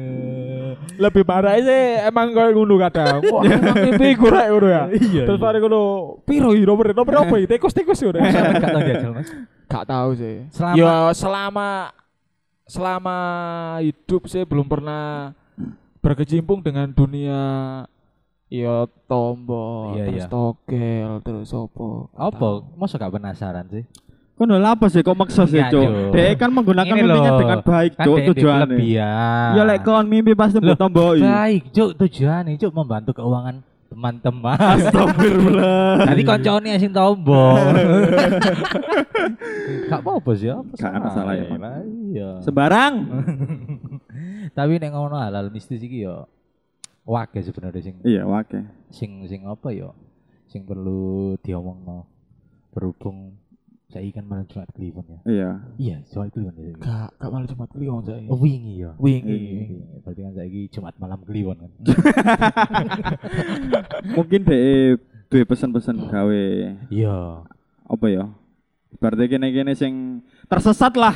Lebih parah sih emang kayak ngono kadang. Wah, emang mimpi gue rek ngono ya. Iya, Terus iya. bareng ngono, piro iki nomor nomor apa iki? Tikus-tikus ngono. Gak tau jajal, Mas. Gak tahu sih. Selama- Ya selama selama hidup sih belum pernah berkecimpung dengan dunia ya tombol, Iya, terus iya. togel, terus opo. Apa? Gak tahu. Masa gak penasaran sih? Kono lha apa sih kok maksa sih, Iya, Enggak, Cuk. Cuk? Dek kan menggunakan Ini mimpinya loh, dengan baik, Kan Cuk, dia- dia tujuannya. Kelebihan. Ya lek kon mimpi pasti mbok tomboki. baik, Cuk, tujuan Cuk membantu keuangan teman-teman. Astagfirullah. Tadi koncone sing tombol. Gak apa-apa sih, apa Gak ada masalah ya, Mas. Lah, Iya. Sembarang. Tapi nek ngono halal mistis iki ya wakil sebenarnya sing Iya, oke. sing sing apa ya sing perlu diomongno berhubung saiki kan malam Jumat Kliwon ya. Iya. Iya, Jumat Kliwon ya. saiki. Gak, gak malah Jumat Kliwon saya. Oh, wingi ya. Wingi. Wingi. Berarti kan saiki Jumat malam Kliwon kan. Mungkin dek duwe pesen-pesen gawe Iya. apa ya? Berarti kene-kene sing tersesat lah.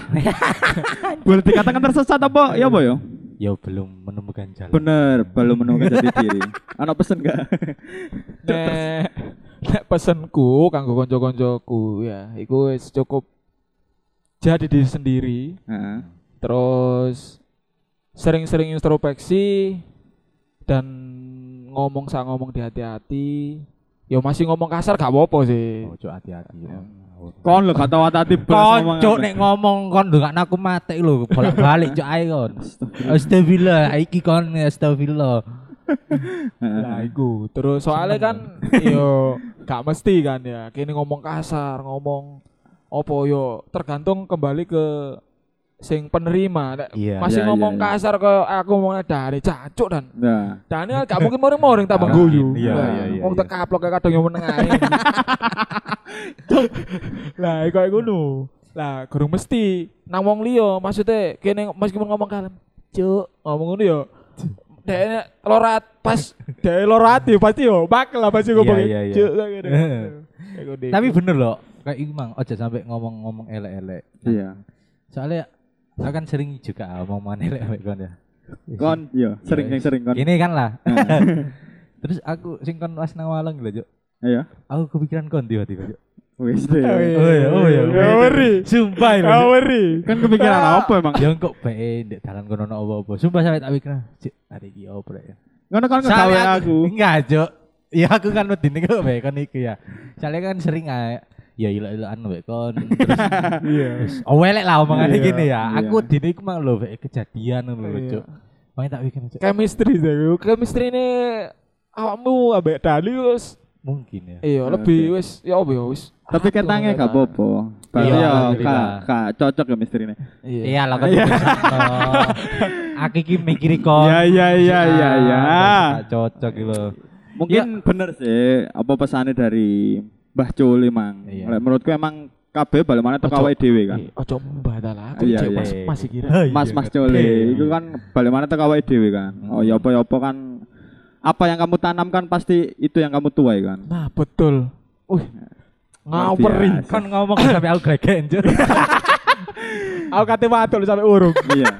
Boleh dikatakan tersesat apa? Ya apa ya? Ya belum menemukan jalan. Bener, belum menemukan jati diri. Anak pesen gak? Nek nek pesenku kanggo kanca-kancaku ya, iku wis cukup jadi diri sendiri, Heeh. terus sering-sering introspeksi dan ngomong sang ngomong di hati-hati. Ya masih ngomong kasar gak apa-apa sih. Oh, Cuk, hati-hati ya. Kon lho gak tau hati-hati blas ngomong Konco apa. nek ngomong kon lho gak aku mati lho bolak-balik cuk ae kon. Astagfirullah, iki kon astagfirullah. Nah, iku. Terus soalnya kan yo gak mesti kan ya. Kini ngomong kasar, ngomong opo yo tergantung kembali ke sing penerima. Nek Iya. Masih Iya, ngomong iya, iya. kasar ke aku mau dari cacuk dan Nah, dan ini kan gak mungkin moring-moring tambah guyu. Iya, Nah, iya, iya, Wong iya. tekaplok kayak kadang yang menengah. Lah, iku iku nu. Lah, gurung mesti nang wong liya, maksudnya kene meskipun ngomong kalem, Cuk, ngomong ngono yo. Dekne lorat pas dek lorat yo ya, pasti yo bakel lah pasti ngomong. Iya, iya, iya. Cuk kayak gitu. Heeh. Iku deh. Tapi bener loh, kayak iku mang aja sampai ngomong-ngomong elek-elek. iya. Soalnya akan sering juga omongan elek ambek kon ya. Kon, iya, sering Iya. yang sering kon. Nah. Ini kan lah. Terus aku sing kon was nang Malang lho, Juk. Iya. Aku kepikiran kon tiba-tiba, ya, Juk. Wis deh. Oh iya, oh iya. ya Ngawari. Sumpah lho. Juk. Ngawari. Kan kepikiran apa emang? Ya kok bae ndek dalan kono ono apa-apa. Sumpah sampe tak pikir, Cuk, hari iki opo rek ya. Ngono kan Soalnya gawe aku. Enggak, Cuk. Ya aku kan medine kok bae kon iki ya. Soalnya kan sering ae ya ilok-ilokan bae kon. Iya. Owelek lah omongane Iya, gini ya. iya. Aku dine iku mang lho bae kejadian ngono lho, Iya. Cuk. Makanya tak pikir, Cuk. Chemistry deh. Chemistry ini awakmu ambek Dali wis Mungkin ya. Iya, Oke. lebih wis ya apa ya wis. Tapi ketangnya gak apa-apa. Berarti Iya, ya alhamdulillah. gak gak cocok ya misterine. Iya. Iya lah kan Aku iki mikiri kon. Iya, iya, iya, iya, Ah, iya. gak Cocok iki lho. Mungkin Iya. bener sih apa pesannya dari Mbah Culi mang. Iya. Lek Menurutku emang kabeh balik mana teko Ojo. awake dhewe kan. Iya, Ojo membatal aku Iya, cek iya. mas masih kira. Mas Mas Culi itu kan balik mana teko awake dhewe kan. Oh Hmm. ya apa-apa kan apa yang kamu tanamkan pasti itu yang kamu tuai kan. Nah, betul. Wih. Iya. Kan Luar Ngaweri. biasa. Kon ngomong sampe aku gegen, Cuk. Aku kate wadul sampai urung. Iya.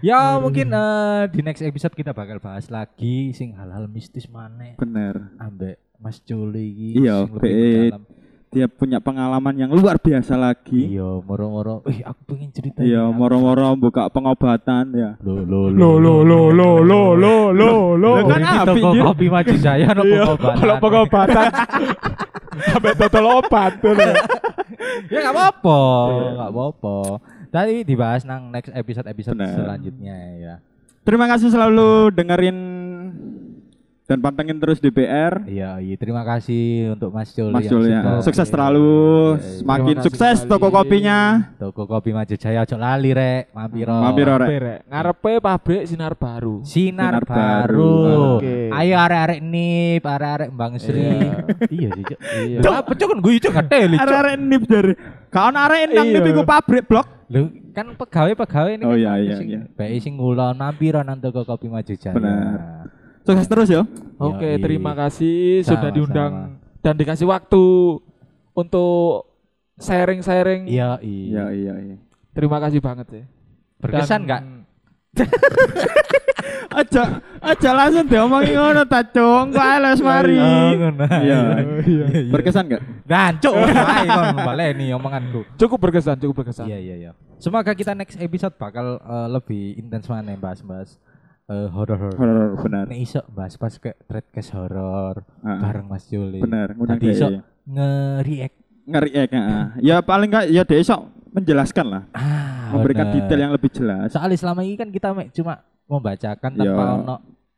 Ya Hmm. mungkin eh, di next episode kita bakal bahas lagi sing hal-hal mistis maneh Bener. ambek Mas Juli iki Iya, sing lebih be- mendalam. Dia punya pengalaman yang luar biasa lagi. Iya, moro-moro. Wih, aku pengen cerita. Iya, ini. moro-moro buka pengobatan ya. Lo lo Lo lo lo lo lo lo lo lo. Lah, kan Ini api, toko Jun. kopi maju saya no Iya, pengobatan. kalau pengobatan sampai total obat tuh. lho. Iya. Ya enggak apa-apa, Iya. enggak apa-apa. Tapi dibahas nang next episode-episode Bener. selanjutnya ya. Terima kasih selalu dengerin dan pantengin terus DPR. Iya, iya, terima kasih untuk Mas Juli. Mas yang Jul ya. sudah- Sukses Iya, terlalu, iya, iya. semakin Terima kasih sukses kembali. toko kopinya. Toko kopi maju jaya ojo lali rek, mampiro. Mampir orek. Hampir, ya. Ngarepe pabrik sinar baru. Sinar, Sinar baru. baru. Oke. Ayo arek-arek nip, arek-arek Bang Sri. iya sih, Cuk. Iya. Cuk, pecuk kan gue cuk ngeteli, Cuk. Arek-arek nip dari. Kaon arek nang Iya. nip iku pabrik blok. Lho, kan pegawai-pegawai ini Oh, kan iya, ada iya, sing- iya. baik sing ngulon mampir nang toko kopi maju jaya. Benar. Sukses terus ya. Oke, iya. Yoi. terima kasih Sama-sama. sudah diundang dan dikasih waktu untuk sharing-sharing. Iya, iya. iya iya. Terima kasih banget ya. Berkesan enggak? Aja aja langsung diomongi ngono ta, Cung. Kok ae les mari. Oh, Iya. Berkesan enggak? Dan cuk, ae kon baleni omonganku. Cukup berkesan, cukup berkesan. Iya, iya, iya. Semoga kita next episode bakal eh, lebih intens mana bahas-bahas eh, horor-horor. Horor benar. Nek iso bahas pas ke threadcast horor Ah, bareng Mas Juli. Benar, ngundang Tadi iso dia. nge-react. Ngeri ya, heeh. Ya paling enggak ya dia esok menjelaskan lah, Ah, memberikan bener. detail yang lebih jelas. Soalnya selama ini kan kita mek cuma membacakan Iya. tanpa ono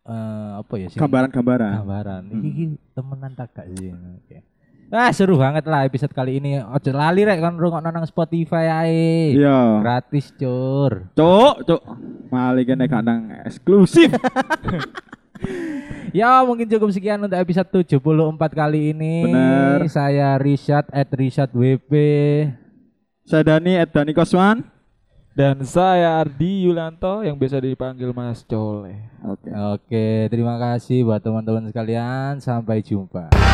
eh, apa ya sih? Gambaran-gambaran. Gambaran. Hmm. Iki iki temenan tak gak sih? Oke. Ah, seru banget lah episode kali ini. Ojo lali rek kon rungokno nang Spotify ae. Iya. Gratis, cur. Cuk, cuk. Mali kene kadang eksklusif. Ya mungkin cukup sekian untuk episode 74 kali ini. Bener. Saya Richard at Richard WP. Saya Dani at Dani Koswan. Dan saya Ardi Yulanto yang biasa dipanggil Mas Cole. Oke. Ya. Oke, terima kasih buat teman-teman sekalian. Sampai jumpa.